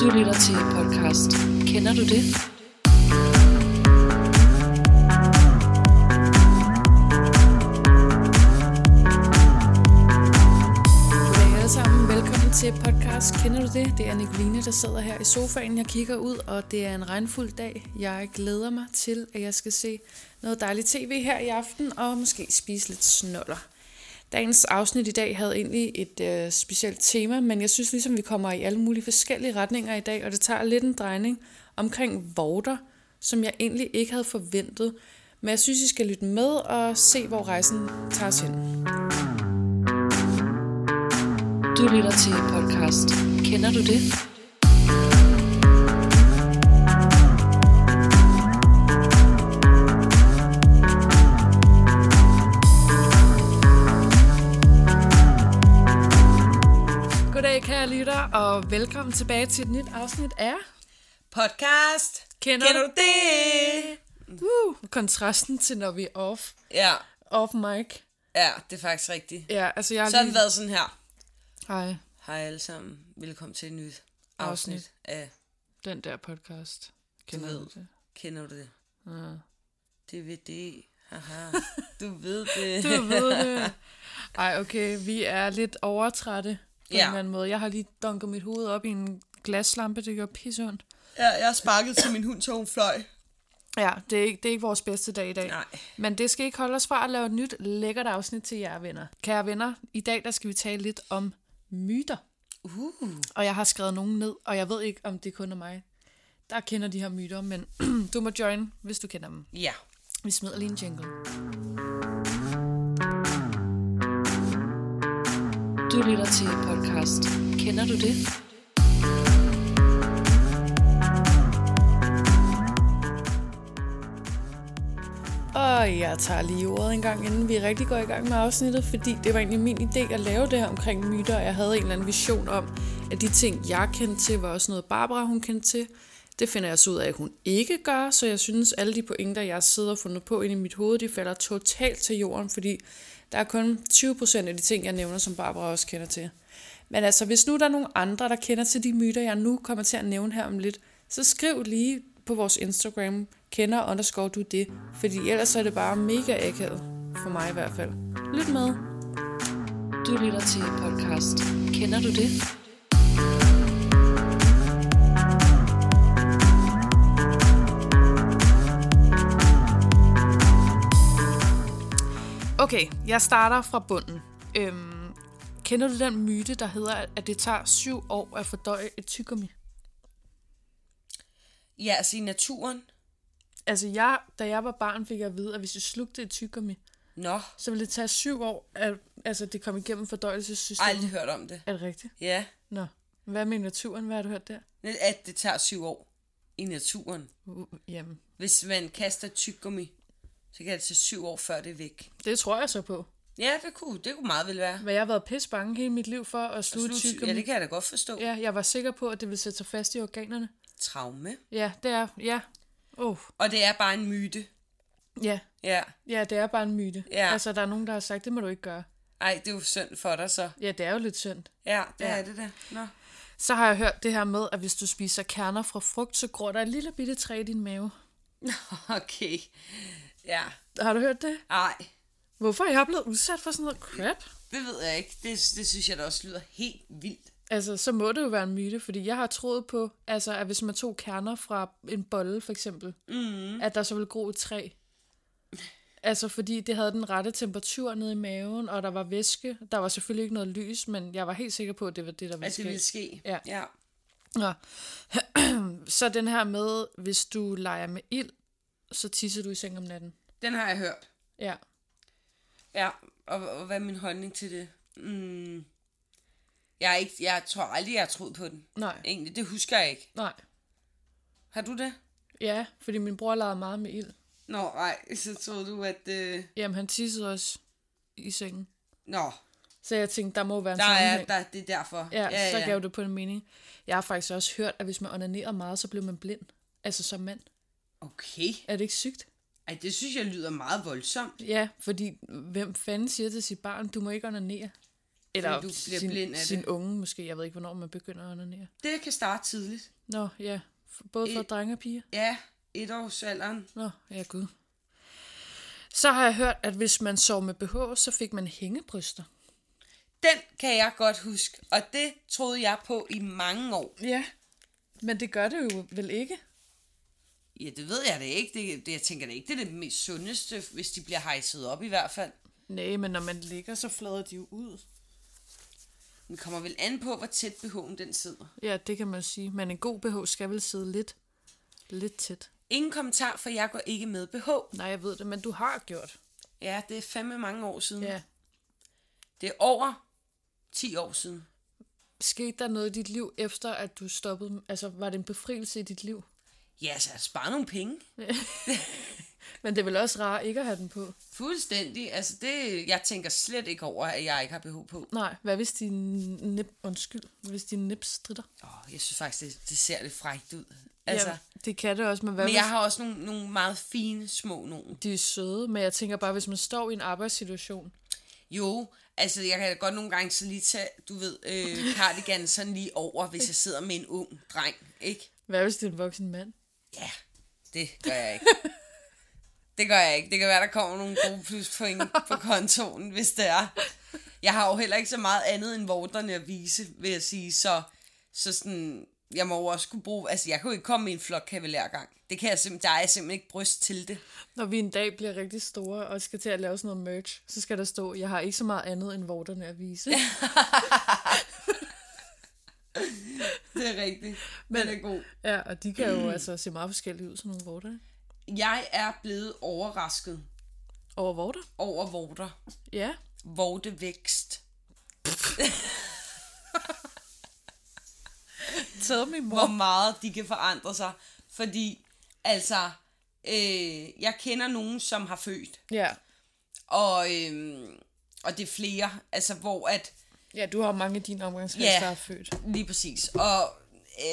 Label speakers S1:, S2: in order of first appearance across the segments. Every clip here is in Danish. S1: Du lytter til podcast. Kender du det?
S2: Goddag alle sammen. Velkommen til podcast Kender du det? Det er Nicoline, der sidder her i sofaen. Jeg kigger ud, og det er en regnfuld dag. Jeg glæder mig til, at jeg skal se noget dejligt tv her i aften, og måske spise lidt snoller. Dagens afsnit i dag havde egentlig et øh, specielt tema, men jeg synes ligesom, vi kommer i alle mulige forskellige retninger i dag, og det tager lidt en drejning omkring vorter, som jeg egentlig ikke havde forventet. Men jeg synes, I skal lytte med og se, hvor rejsen tager os hen.
S1: Du lytter til podcast. Kender du det?
S2: Goddag kære lytter, og velkommen tilbage til et nyt afsnit af
S3: Podcast.
S2: Kender,
S3: Kender du det?
S2: Woo! Kontrasten til, når vi er off,
S3: Ja,
S2: off mic.
S3: ja, det er faktisk rigtigt.
S2: Ja, altså jeg har
S3: Så har den været sådan her.
S2: Hej,
S3: Hej alle sammen. Velkommen til et nyt afsnit,
S2: Afsnit.
S3: af
S2: den der podcast. Kender
S3: ved.
S2: du det?
S3: Kender du det? Ja. DVD. Haha. Du ved det.
S2: Du ved det. Ej, okay, vi er lidt overtrætte på ja.
S3: Ja.
S2: en eller anden måde. Jeg har lige dunket mit hoved op i en glaslampe, det gør pisseondt.
S3: Ja, jeg sparkede til min hund, så hun fløj.
S2: Ja, det er, ikke, det er ikke vores bedste dag i dag.
S3: Nej.
S2: Men det skal ikke holde os fra at lave et nyt lækkert afsnit til jer venner. Kære venner, i dag der skal vi tale lidt om myter.
S3: Uh,
S2: Og jeg har skrevet nogen ned, og jeg ved ikke, om det kun er mig, der kender de her myter, men du må join, hvis du kender dem.
S3: ja.
S2: Vi smider lige en jingle.
S1: Du lytter til podcast. Kender du det?
S2: Og jeg tager lige ordet en gang, inden vi rigtig går i gang med afsnittet, fordi det var egentlig min idé at lave det her omkring myter, og jeg havde en eller anden vision om, at de ting, jeg kendte til, var også noget Barbara, hun kendte til. Det finder jeg så ud af, at hun ikke gør, så jeg synes, alle de pointer, jeg sidder og fundet på inde i mit hoved, de falder totalt til jorden, fordi der er kun 20% af de ting, jeg nævner, som Barbara også kender til. Men altså, hvis nu der er nogle andre, der kender til de myter, jeg nu kommer til at nævne her om lidt, så skriv lige på vores Instagram, kender underscore du det, fordi ellers så er det bare mega akavet, for mig i hvert fald. Lyt med.
S1: Du lytter til podcast. Kender du det?
S2: Okay, jeg starter fra bunden. Øhm, kender du den myte, der hedder, at det tager syv år at fordøje et tyggegummi?
S3: Ja, altså i naturen.
S2: Altså, jeg, da jeg var barn, fik jeg at vide, at hvis jeg slugte et tyggegummi,
S3: Nå,
S2: så ville det tage syv år, at altså, det kom igennem fordøjelsessystemet.
S3: aldrig hørt om det.
S2: Er det rigtigt?
S3: Ja,
S2: Nå. Hvad med naturen? Hvad har du hørt der?
S3: at det tager syv år i naturen.
S2: Uh, jamen,
S3: Hvis man kaster tyggegummi, så kan det tage syv år, før det er væk.
S2: det tror jeg så på.
S3: Ja, det kunne, det kunne meget vel være.
S2: Men jeg har været pisse bange hele mit liv for at sluge
S3: Slut-
S2: tyggegummi.
S3: Ja, det kan jeg da godt forstå. Ja.
S2: Ja, jeg var sikker på, at det ville sætte sig fast i organerne.
S3: Traume.
S2: Ja, det er, ja. Oh,
S3: Og det er bare en myte.
S2: ja.
S3: Ja.
S2: Ja, det er bare en myte.
S3: Ja.
S2: Altså, der er nogen, der har sagt, det må du ikke gøre.
S3: Ej, det er jo synd for dig så.
S2: Ja, det er jo lidt synd.
S3: Ja, det
S2: Ja.
S3: ja. er det der. Nå.
S2: Så har jeg hørt det her med, at hvis du spiser kerner fra frugt, så gror der et lille bitte træ i din mave.
S3: Okay. Ja.
S2: Har du hørt det?
S3: Ej,
S2: Hvorfor er jeg blevet udsat for sådan noget crap?
S3: det ved jeg ikke. Det, det synes jeg da også lyder helt vildt.
S2: Altså, så må det jo være en myte, fordi jeg har troet på, altså, at hvis man tog kerner fra en bolle, for eksempel, mm. at der så ville gro et træ. Altså, fordi det havde den rette temperatur nede i maven, og der var væske. Der var selvfølgelig ikke noget lys, men jeg var helt sikker på, at det var det, der ville
S3: At det
S2: ske.
S3: ville ske.
S2: Ja.
S3: ja.
S2: Nå. så den her med, hvis du leger med ild, så tisser du i seng om natten.
S3: Den har jeg hørt.
S2: Ja.
S3: Ja, og, og hvad er min holdning til det? Mm. Jeg, er ikke, jeg tror aldrig, jeg har troet på den.
S2: Nej.
S3: Egentlig, det husker jeg ikke.
S2: Nej.
S3: Har du det?
S2: Ja, fordi min bror legede meget med ild.
S3: Nå, nej, så troede du, at... Øh...
S2: Jamen, han tissede også i sengen.
S3: Nå,
S2: Så jeg tænkte, der må være en
S3: der
S2: sammenhæng.
S3: er, der, det er derfor.
S2: Altså, Ja, ja, så gav det på en mening. Jeg har faktisk også hørt, at hvis man onanerer meget, så bliver man blind. Altså som mand.
S3: Okay.
S2: Er det ikke sygt?
S3: Ej, det synes jeg lyder meget voldsomt.
S2: Ja, fordi hvem fanden siger til sit barn, du må ikke onanere? Eller
S3: Fordi du bliver
S2: sin,
S3: blind af
S2: sin
S3: det.
S2: unge måske. Jeg ved ikke, hvornår man begynder at onanere.
S3: Det kan starte tidligt.
S2: Nå, ja. For- Både for
S3: Øh.
S2: drenge og piger.
S3: Ja, etårsalderen.
S2: Nå, ja gud. Så har jeg hørt, at hvis man sov med BH, så fik man hængebryster.
S3: Den kan jeg godt huske, og det troede jeg på i mange år.
S2: Ja. Men det gør det jo vel ikke?
S3: Ja, det ved jeg da ikke. Det, det, jeg tænker da ikke, det er det mest sundeste, hvis de bliver hejset op i hvert fald.
S2: Nej, men når man ligger, så flader de jo ud.
S3: Men det kommer vel an på, hvor tæt BH'en den sidder.
S2: Ja, det kan man sige. Men en god BH skal vel sidde lidt, lidt tæt.
S3: Ingen kommentar, for jeg går ikke med BH.
S2: Nej, jeg ved det, men du har gjort.
S3: Ja, det er fandme mange år siden.
S2: Ja.
S3: Det er over 10 år siden.
S2: Skete der noget i dit liv, efter at du stoppede? Altså, var det en befrielse i dit liv?
S3: Ja, så spare nogle penge.
S2: Men det er vel også rart ikke at have den på?
S3: Fuldstændig. Altså, det, jeg tænker slet ikke over, at jeg ikke har BH på.
S2: Nej, hvad hvis din nip, undskyld, hvis din nip stritter?
S3: Åh, jeg synes faktisk, det, det ser lidt frækt ud. Altså, ja,
S2: det kan det også, men hvad
S3: men
S2: hvis
S3: jeg har også nogle, nogle meget fine små nogen.
S2: de er søde? Men jeg tænker bare, hvis man står i en arbejdssituation.
S3: Jo, altså jeg kan godt nogle gange så lige tage, du ved, øh, cardigan sådan lige over, hvis jeg sidder med en ung dreng, ikke?
S2: Hvad hvis det er en voksen mand?
S3: Ja, det gør jeg ikke. Det gør jeg ikke. Det kan være, der kommer nogle gode pluspoint på kontoen, hvis det er. Jeg har jo heller ikke så meget andet end vorterne at vise, vil jeg sige. Så, så sådan, jeg må jo også kunne bruge... Altså, jeg kan jo ikke komme i en flok kavalergang. Det kan jeg simpelthen... Der er jeg simpelthen ikke bryst til det.
S2: Når vi en dag bliver rigtig store og skal til at lave sådan noget merch, så skal der stå, jeg har ikke så meget andet end vorterne at vise.
S3: Det er rigtigt. Men det er god.
S2: ja, og de kan jo altså se meget forskellige ud, sådan nogle vorter. ikke?
S3: Jeg er blevet overrasket
S2: Over vorter?
S3: over vorter.
S2: Ja.
S3: Vortevækst.
S2: Tell me
S3: hvor
S2: more.
S3: meget de kan forandre sig. Fordi, altså, øh, jeg kender nogen, som har født,
S2: Ja.
S3: og, øh, og det er flere, altså hvor at,
S2: ja, du har mange af dine omgangskreds,
S3: Ja.
S2: der er født.
S3: lige præcis, og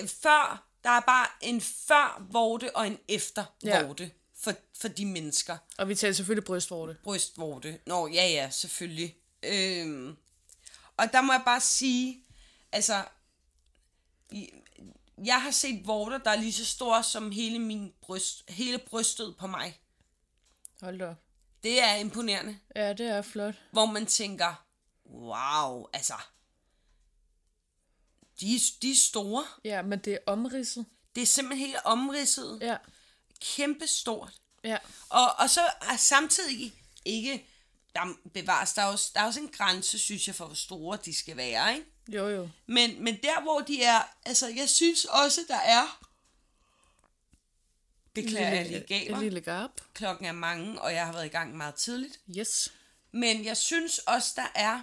S3: øh, før, der er bare en før vorte og en efter
S2: Ja.
S3: vorte for, for de mennesker.
S2: Og vi taler selvfølgelig brystvorte.
S3: brystvorte. Nå, ja, ja, selvfølgelig. Øhm, og der må jeg bare sige, altså, i- jeg har set vorter, der er lige så store som hele min bryst, hele brystet på mig.
S2: Hold da op.
S3: Det er imponerende,
S2: Ja, det er flot.
S3: hvor man tænker, wow, altså, de, er- de er store.
S2: Ja, men det er omridset.
S3: Det er simpelthen helt omridset,
S2: Ja.
S3: kæmpe stort.
S2: Ja.
S3: Og, og så er samtidig ikke, der bevares, der er, også, der er også en grænse, synes jeg, for hvor store de skal være, ikke?
S2: Jo, jo.
S3: Men, men der, hvor de er, altså, jeg synes også, der er, beklager jeg lige
S2: En
S3: gaver.
S2: lille garp.
S3: klokken er mange, og jeg har været i gang meget tidligt,
S2: Yes.
S3: men jeg synes også, der er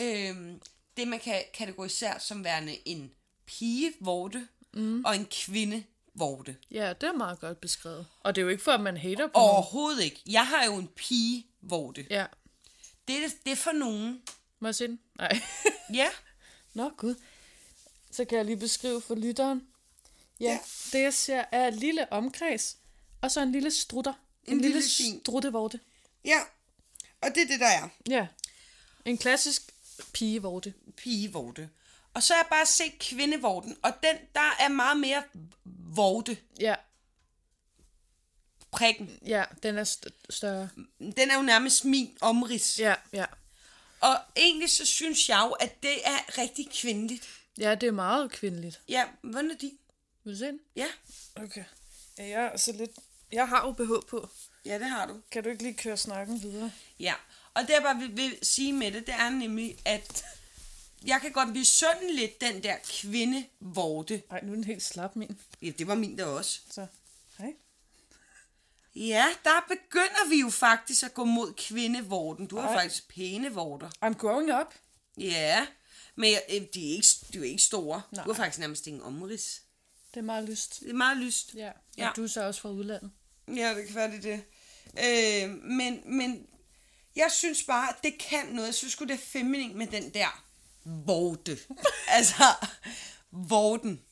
S3: øhm, det, man kan kategorisere som værende en pigevorte mm. og en kvindevorte.
S2: Ja, det er meget godt beskrevet. Og det er jo ikke for, at man hater på nogen.
S3: Overhovedet ikke. Jeg har jo en pigevorte.
S2: Ja.
S3: Det er, det er for nogen.
S2: Må jeg se den? Nej.
S3: Ja.
S2: Nå, gud. Så kan jeg lige beskrive for lytteren. Ja, ja. det jeg ser er et lille omkreds, og så en lille strutter. En, en lille,
S3: lille fin.
S2: lille struttevorte.
S3: Ja. Og det er det, der er.
S2: Ja. En klassisk pigevorte.
S3: Pigevorte. Og så har jeg bare set kvindevorten, og den, der er meget mere vorte
S2: Ja,
S3: prikken.
S2: ja, den er st- større.
S3: Den er jo nærmest min omrids. Ja.
S2: Ja, ja.
S3: Og egentlig så synes jeg jo, at det er rigtig kvindeligt.
S2: Ja, det er meget kvindeligt.
S3: Ja, hvordan er de?
S2: Vil du se den?
S3: Ja.
S2: Okay. Ja, jeg er så lidt... Jeg har jo BH på.
S3: Ja, det har du.
S2: Kan du ikke lige køre snakken videre?
S3: Ja. Og det jeg bare vil, vil sige med det, det er nemlig, at jeg kan godt blive sådan lidt den der kvindevorte.
S2: Nej, nu er den helt slap, min.
S3: Ja, det var min der også.
S2: Så, hej.
S3: Ja, der begynder vi jo faktisk at gå mod kvindevorten. Du har
S2: Ej.
S3: faktisk pæne vorter.
S2: I'm growing up.
S3: Ja, men jeg- øh, de er ikke, de er ikke store. Nej.
S2: Nej.
S3: Du har faktisk nærmest ingen omrids.
S2: Det er meget lyst.
S3: Det er meget lyst.
S2: Ja,
S3: Ja.
S2: og du er så også fra udlandet.
S3: ja det kan være det. er det. Øh, men, men jeg synes bare, at det kan noget. Jeg synes sgu, det er feminin med den der vorte. altså, vorten.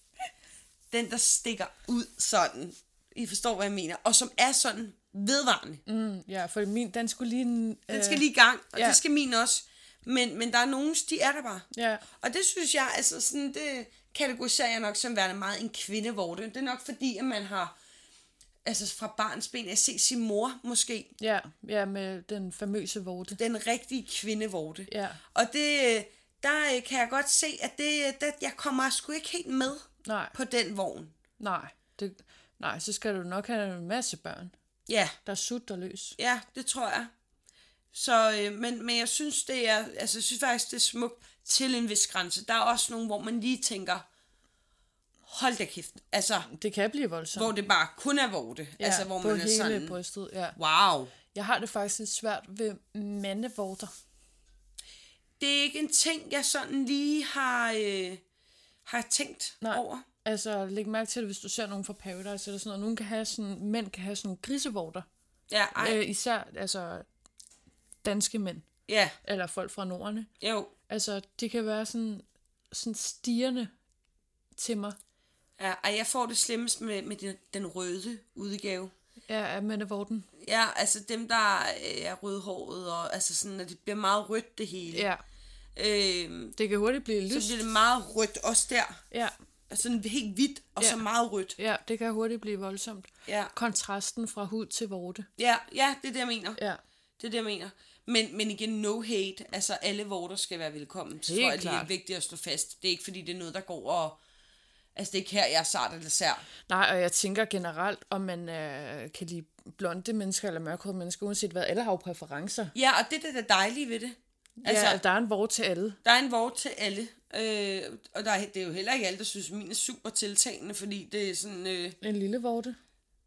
S3: Den, der stikker ud sådan. I forstår, hvad jeg mener. Og som er sådan vedvarende.
S2: Mm, ja, for min, den skulle lige...
S3: Den skal lige i gang, og ja.
S2: ja.
S3: det skal min også. Men, men der er nogen, de er der bare.
S2: Ja.
S3: Og det synes jeg, altså sådan, det kategoriserer jeg nok som værende meget en kvindevorte. Det er nok fordi, at man har, altså fra barns ben, at se sin mor måske,
S2: Ja, ja, med den famøse vorte.
S3: den rigtige kvindevorte.
S2: Ja.
S3: Og det, øh, der øh, kan jeg godt se, at det, øh, der, jeg kommer sgu ikke helt med
S2: Nej.
S3: på den vogn.
S2: Nej, det, nej, så skal du nok have en masse børn,
S3: Ja,
S2: der sutter løs.
S3: ja, det tror jeg. Så, øh, men, men jeg synes, det er, altså, jeg synes faktisk, det er smukt til en vis grænse. Der er også nogle, hvor man lige tænker, hold da kæft. Altså,
S2: Det kan blive voldsomt.
S3: hvor det bare kun er vorte. Ja, altså, hvor
S2: på
S3: man er
S2: hele
S3: sådan,
S2: brystet, ja.
S3: wow.
S2: Jeg har det faktisk lidt svært ved mandevorter.
S3: Det er ikke en ting, jeg sådan lige har, øh, har tænkt Nej. over.
S2: Altså, læg mærke til det, hvis du ser nogen fra Paradise eller sådan noget. Nogen kan have sådan, mænd kan have sådan nogle grisevorter.
S3: Ja, ej, øh.
S2: Øh, især, altså, danske mænd.
S3: ja,
S2: Eller folk fra Nordene.
S3: jo,
S2: Altså, de kan være sådan, sådan stigende til mig.
S3: ja, ej, jeg får det slemmest med, med den, den røde udgave.
S2: Ja, af mandevorten.
S3: Ja, altså dem, der øh, er rødhåret, og altså sådan, at det bliver meget rødt det hele.
S2: Ja,
S3: Øhm,
S2: det kan hurtigt blive
S3: så
S2: lyst.
S3: bliver det meget rødt også der.
S2: Ja,
S3: Altså sådan helt hvidt, og ja. så
S2: Ja.
S3: meget rødt.
S2: ja, det kan hurtigt blive voldsomt.
S3: Ja.
S2: Kontrasten fra hud til vorte.
S3: Ja, ja, det er det, jeg mener.
S2: Ja.
S3: Det er det, jeg mener. Men, men igen, no hate. Altså, alle vorter skal være velkommen. Så
S2: Helt
S3: tror jeg, det er
S2: klart.
S3: vigtigt at slå fast. Det er ikke, fordi det er noget, der går og... Altså, det er ikke her, jeg er sart eller sær.
S2: Nej, og jeg tænker generelt, om man øh, kan lide blonde mennesker eller mørkhårede mennesker, uanset hvad. Alle har jo præferencer.
S3: Ja, og det er det, der er dejlige ved det. Altså,
S2: Altså, ja,
S3: ja.
S2: der er en vorte til alle.
S3: der er en vort til alle. Øh, og der er, det er jo heller ikke alle, der synes, min er super tiltagende, fordi det er sådan... Øh,
S2: En lille vorte.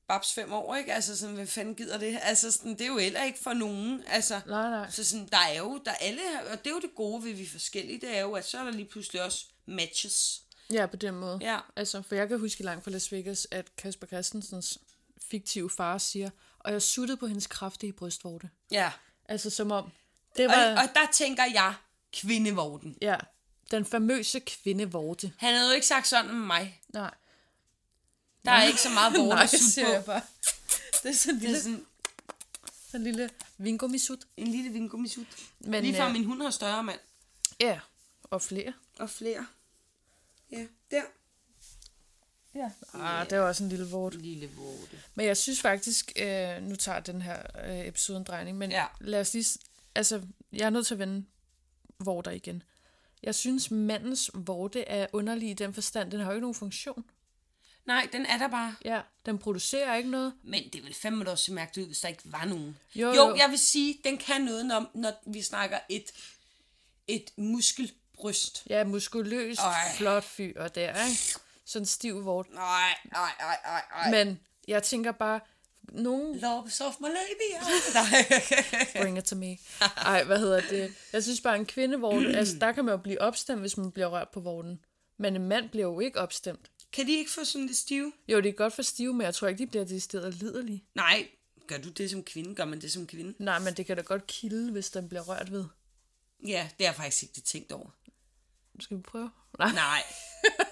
S3: babs fem år, ikke? Altså, sådan, hvad fanden gider det? Altså, sådan, det er jo heller ikke for nogen. Altså,
S2: Nej, nej.
S3: Så sådan, der er jo, der er alle, og det er jo det gode ved, at vi er forskellige, det er jo, at så er der lige pludselig også matches.
S2: Ja, på den måde.
S3: Ja.
S2: Altså, for jeg kan huske langt fra Las Vegas, at Kasper Christensens fiktive far siger, og jeg suttede på hendes kraftige brystvorte.
S3: Ja.
S2: Altså, som om, det
S3: Og,
S2: var,
S3: og der tænker jeg, kvindevorten.
S2: ja, den famøse kvindevorte.
S3: Han havde jo ikke sagt sådan om mig.
S2: Nej,
S3: Der er ikke så meget vorten
S2: Nej,
S3: at sutte
S2: siger
S3: på.
S2: jeg bare. Det er sådan en
S3: Det
S2: lille,
S3: er sådan
S2: sådan en lille vingummisut.
S3: en lille vingummisut.
S2: Men,
S3: Lige fra
S2: øh,
S3: min hund har større mand.
S2: Ja, og flere.
S3: Og flere. Ja, der.
S2: Ja. Ah, det var også en lille vort.
S3: Lille vorte.
S2: Men jeg synes faktisk, øh, nu tager den her øh, episode en drejning, men
S3: Ja.
S2: ja. lad os lige... s- Altså, jeg er nødt til at vende vorter igen. Jeg synes, mandens vorte er underlig i den forstand. Den har jo ikke nogen funktion.
S3: Nej, den er der bare.
S2: Ja, den producerer ikke noget.
S3: Men det ville fandme da også se mærkeligt ud, hvis der ikke var nogen. Jo,
S2: Jo,
S3: jo, jo.
S2: jo.
S3: jeg vil sige, den kan noget, når, når vi snakker et, et muskelbryst.
S2: Ja, muskuløs,
S3: Ej.
S2: flot fyr der, ikke? Sådan en stiv vort.
S3: Nej, nej, nej, nej, nej.
S2: Men jeg tænker bare, nogen
S3: Loves of my labia. Nej.
S2: Bring it to me. Ej, hvad hedder det? Jeg synes bare, en kvindevorden, altså der kan man jo blive opstemt, hvis man bliver rørt på vorden. Men en mand bliver jo ikke opstemt.
S3: kan de ikke få sådan lidt stive?
S2: Jo, det er godt for stive, men jeg tror ikke, de bliver decideret liderlige.
S3: Nej, gør du det som kvinde, gør man det som kvinde?
S2: Nej, men det kan da godt kilde, hvis den bliver rørt ved.
S3: Ja, det har jeg faktisk ikke tænkt over.
S2: Skal vi prøve? Nej,
S3: Nej,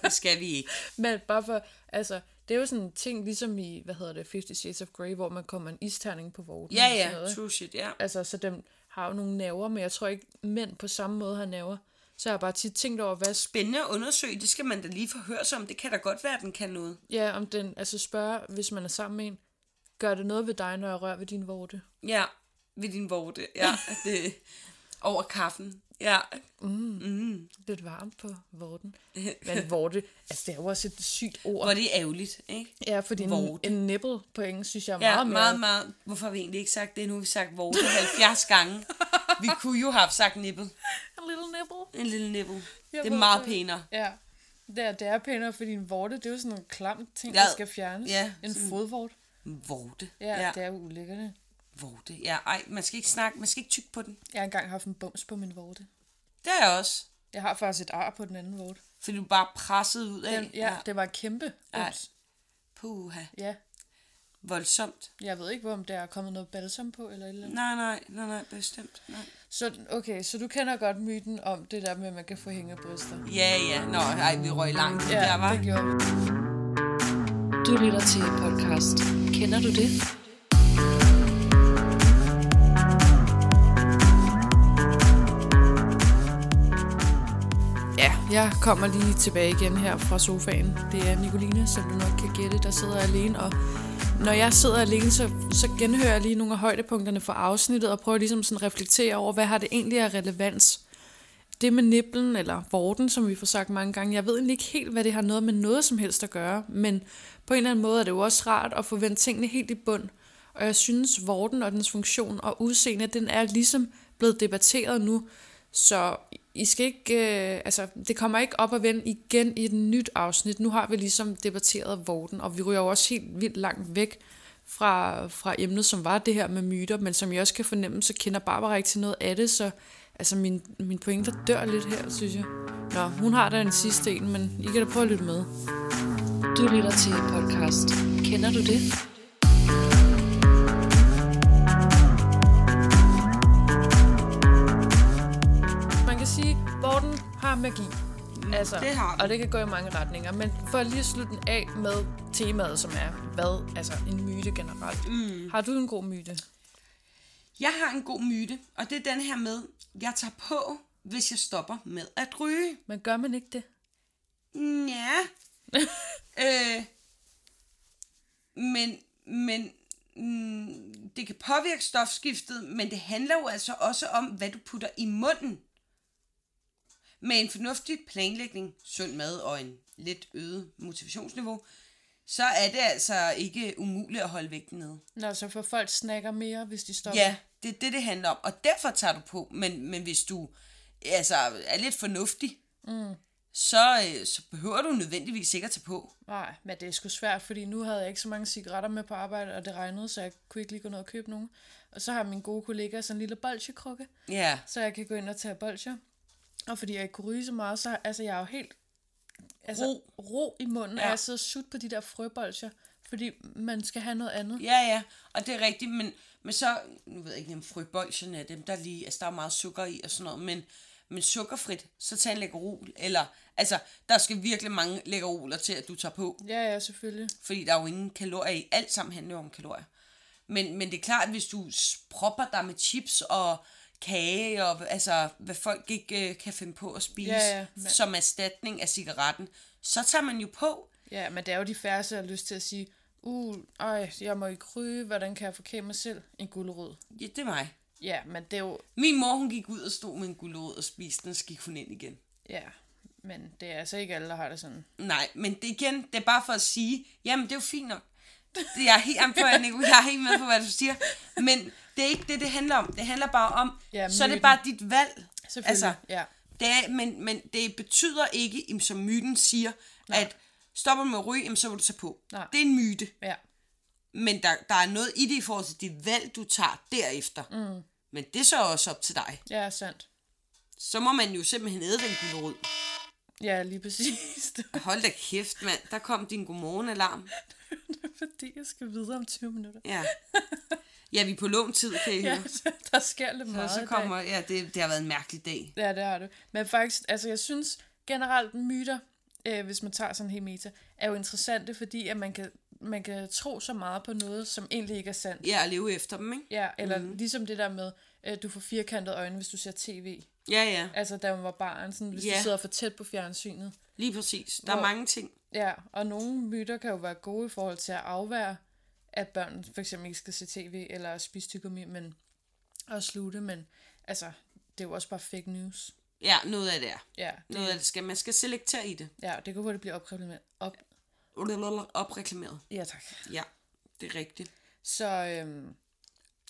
S3: det skal vi ikke.
S2: men bare for, altså, det er jo sådan en ting, ligesom i, hvad hedder det, 50 Shades of Grey, hvor man kommer en isterning på vorden.
S3: Ja,
S2: og sådan noget,
S3: ja,
S2: ikke?
S3: true shit, ja.
S2: Altså, så den har jo nogle naver, men jeg tror ikke, mænd på samme måde har naver. Så jeg har bare tit tænkt over, hvad
S3: Spændende at undersøge, det skal man da lige forhøre sig om. Det kan da godt være, at den kan noget.
S2: Ja, om den, altså spørge, hvis man er sammen med en, gør det noget ved dig, når jeg rører ved din vorte?
S3: Ja, ved din vorte. Ja, det, over kaffen. Ja,
S2: Lidt varmt på vorten. Men vorte, altså det er jo også et sygt ord.
S3: hvor det er ærgerligt, ikke?
S2: Ja, fordi en,
S3: Vorte.
S2: en nipple på engelsk, synes jeg er
S3: Ja,
S2: meget, mere.
S3: meget, meget. Hvorfor har vi egentlig ikke sagt det? Nu har vi sagt vorte 70 gange. Vi kunne jo have sagt nippet.
S2: A little nipple.
S3: En lille nippet.
S2: Jeg
S3: Det er
S2: ved
S3: meget
S2: det.
S3: pænere.
S2: Ja, det er, det er pænere, fordi en vorte, det er jo sådan en klam ting,
S3: Ja.
S2: der skal fjernes.
S3: Ja,
S2: En fodvort.
S3: Vorte.
S2: Ja,
S3: ja.
S2: det er jo ulækkerne.
S3: Vorte. Ja, ej, man skal ikke snakke, man skal ikke tykke på den.
S2: Jeg har engang haft en bums på min vorte.
S3: Det er jeg også.
S2: Jeg har faktisk et ar på den anden vorte.
S3: For du er bare presset ud af.
S2: Den, ja, ja, det var en kæmpe
S3: Ej.
S2: bums.
S3: Puha.
S2: Ja,
S3: Voldsomt.
S2: jeg ved ikke, hvor om der er kommet noget balsam på eller et eller andet.
S3: Nej, nej, nej, nej, bestemt. Nej.
S2: Så, okay, så du kender godt myten om det der med, at man kan få hængebryster.
S3: Ja, ja. Nå, ej, vi røg langt. Ja, der, var.
S2: det gjorde vi.
S1: Du lytter til podcast. Kender du det?
S2: Jeg kommer lige tilbage igen her fra sofaen. Det er Nicoline, som du nok kan gætte, der sidder alene. Og når jeg sidder alene, så, så genhører jeg lige nogle af højdepunkterne fra afsnittet og prøver ligesom sådan at reflektere over, hvad har det egentlig af relevans? Det med nipplen eller vorten, som vi får sagt mange gange, jeg ved egentlig ikke helt, hvad det har noget med noget som helst at gøre, men på en eller anden måde er det jo også rart at få vendt tingene helt i bund. Og jeg synes, vorten og dens funktion og udseende, den er ligesom blevet debatteret nu, så I skal ikke, øh, altså, det kommer ikke op og vende igen i et nyt afsnit. Nu har vi ligesom debatteret vorten, og vi ryger jo også helt vildt langt væk fra, fra emnet, som var det her med myter, men som jeg også kan fornemme, så kender Barbara ikke til noget af det, så altså, min, min pointer dør lidt her, synes jeg. Nå, hun har da en sidste en, men I kan da prøve at lytte med.
S1: Du lytter til podcast Kender du det?
S2: Man kan sige, Borden har magi. Altså,
S3: det har den.
S2: og det kan gå i mange retninger. Men for lige at slutte den af med temaet, som er, hvad altså en myte generelt. Mm. Har du en god myte?
S3: Jeg har en god myte, og det er den her med, jeg tager på, hvis jeg stopper med at ryge.
S2: Men gør man ikke det?
S3: Ja. øh, men men mm, det kan påvirke stofskiftet, men det handler jo altså også om, hvad du putter i munden. Med en fornuftig planlægning, sund mad og en lidt øget motivationsniveau, så er det altså ikke umuligt at holde vægten nede.
S2: Nå, så for folk snakker mere, hvis de stopper.
S3: Ja, det er det, det handler om. Og derfor tager du på. Men, men hvis du altså, er lidt fornuftig, mm. så, øh, så behøver du nødvendigvis ikke at tage på.
S2: Nej, men det er sgu svært, fordi nu havde jeg ikke så mange cigaretter med på arbejde, og det regnede, så jeg kunne ikke lige gå ned og købe nogen. Og så har min gode kollega sådan en lille bolsjekrukke,
S3: Ja,
S2: så jeg kan gå ind og tage bolsjer. Og fordi jeg ikke kunne ryge så meget, så altså, jeg er jo helt altså,
S3: Ro.
S2: ro i munden, ja.
S3: Ja.
S2: og jeg sidder og sut på de der frøbolsjer, fordi man skal have noget andet.
S3: ja, ja. Og det er rigtigt, men, men så, nu ved jeg ikke, om frøbolsjerne er dem, der lige, altså der er meget sukker i og sådan noget, men, men sukkerfrit, så tag en lækkerol, eller, altså, der skal virkelig mange lækkeroler til, at du tager på.
S2: Ja, ja, selvfølgelig.
S3: fordi der er jo ingen kalorier i. Alt sammen handler jo om kalorier. Men, men det er klart, at hvis du s- propper dig med chips og kage, og altså, hvad folk ikke øh, kan finde på at spise,
S2: Ja, ja, men-
S3: som erstatning af cigaretten, så tager man jo på.
S2: Ja, men det er jo de færreste, der har lyst til at sige, uh, ej, jeg må ikke ryge, hvordan kan jeg forkæle mig selv? En gulerod.
S3: Ja, det er mig.
S2: Ja, men det er jo,
S3: Min mor, hun gik ud og stod med en gulerod og spiste den, så gik hun ind igen.
S2: ja, men det er altså ikke alle, der har det sådan.
S3: Nej, men det igen, det er bare for at sige, jamen det er jo fint nok. Det- Jeg er helt an på, jeg, Nico, jeg er helt med på, hvad du siger. Men det er ikke det, det handler om. Det handler bare om,
S2: Ja,
S3: ja, så er det
S2: myten.
S3: bare dit valg.
S2: Selvfølgelig, altså, ja.
S3: Det er, men, men det betyder ikke, jamen, som myten siger, Nej. at stopper du med at ryge, jamen, så vil du tage på.
S2: Nej.
S3: Det er en myte.
S2: Ja,
S3: Men der, der er noget i det i forhold til det valg, du tager derefter. Mm. Men det er så også op til dig.
S2: ja, sandt.
S3: Så må man jo simpelthen æde den gulerod.
S2: Ja, lige præcis. Det
S3: Hold da kæft, mand. Der kom din godmorgen-alarm.
S2: er fordi, jeg skal videre om 20 minutter.
S3: Ja. ja, vi er på lån tid, kan I
S2: Ja,
S3: høre.
S2: der sker lidt meget
S3: Og
S2: i
S3: så
S2: dag.
S3: kommer, ja, det, det har været en mærkelig dag.
S2: Ja, det har du. Men faktisk, altså jeg synes generelt myter, øh, hvis man tager sådan en hel meta, er jo interessante, fordi at man kan, man kan tro så meget på noget, som egentlig ikke er sandt.
S3: Ja, at leve efter dem, ikke?
S2: Ja, eller mm. ligesom det der med, øh, du får firkantede øjne, hvis du ser tv.
S3: Ja, ja.
S2: Altså, da man var barn, sådan, hvis yeah.
S3: Ja.
S2: du sidder for tæt på fjernsynet.
S3: Lige præcis. Der er
S2: Hvor-
S3: mange ting.
S2: Ja, og nogle myter kan jo være gode i forhold til at afvære, at børn for eksempel ikke skal se tv eller spise tykkermi, men og slutte, men altså, det er jo også bare fake news.
S3: Ja, noget af det er.
S2: Ja, det,
S3: Noget af det skal, man skal selektere i det.
S2: ja, det kan hurtigt blive opkrævet op,
S3: opreklameret.
S2: Ja, tak.
S3: Ja, det er rigtigt.
S2: Så øhm,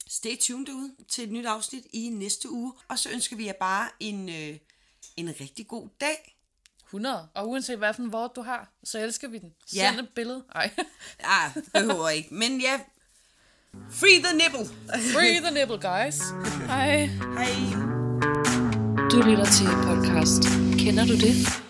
S3: Stay tuned derude til et nyt afsnit i næste uge. Og så ønsker vi jer bare en, øh, en rigtig god dag.
S2: 100. Og uanset hvad for en vort du har, så elsker vi den.
S3: Ja.
S2: Send et billede. Ej.
S3: Ah, behøver ikke. Men ja, free the nipple.
S2: Free the nipple, guys. Hej.
S3: Hej.
S1: Du lytter til podcast Kender du det?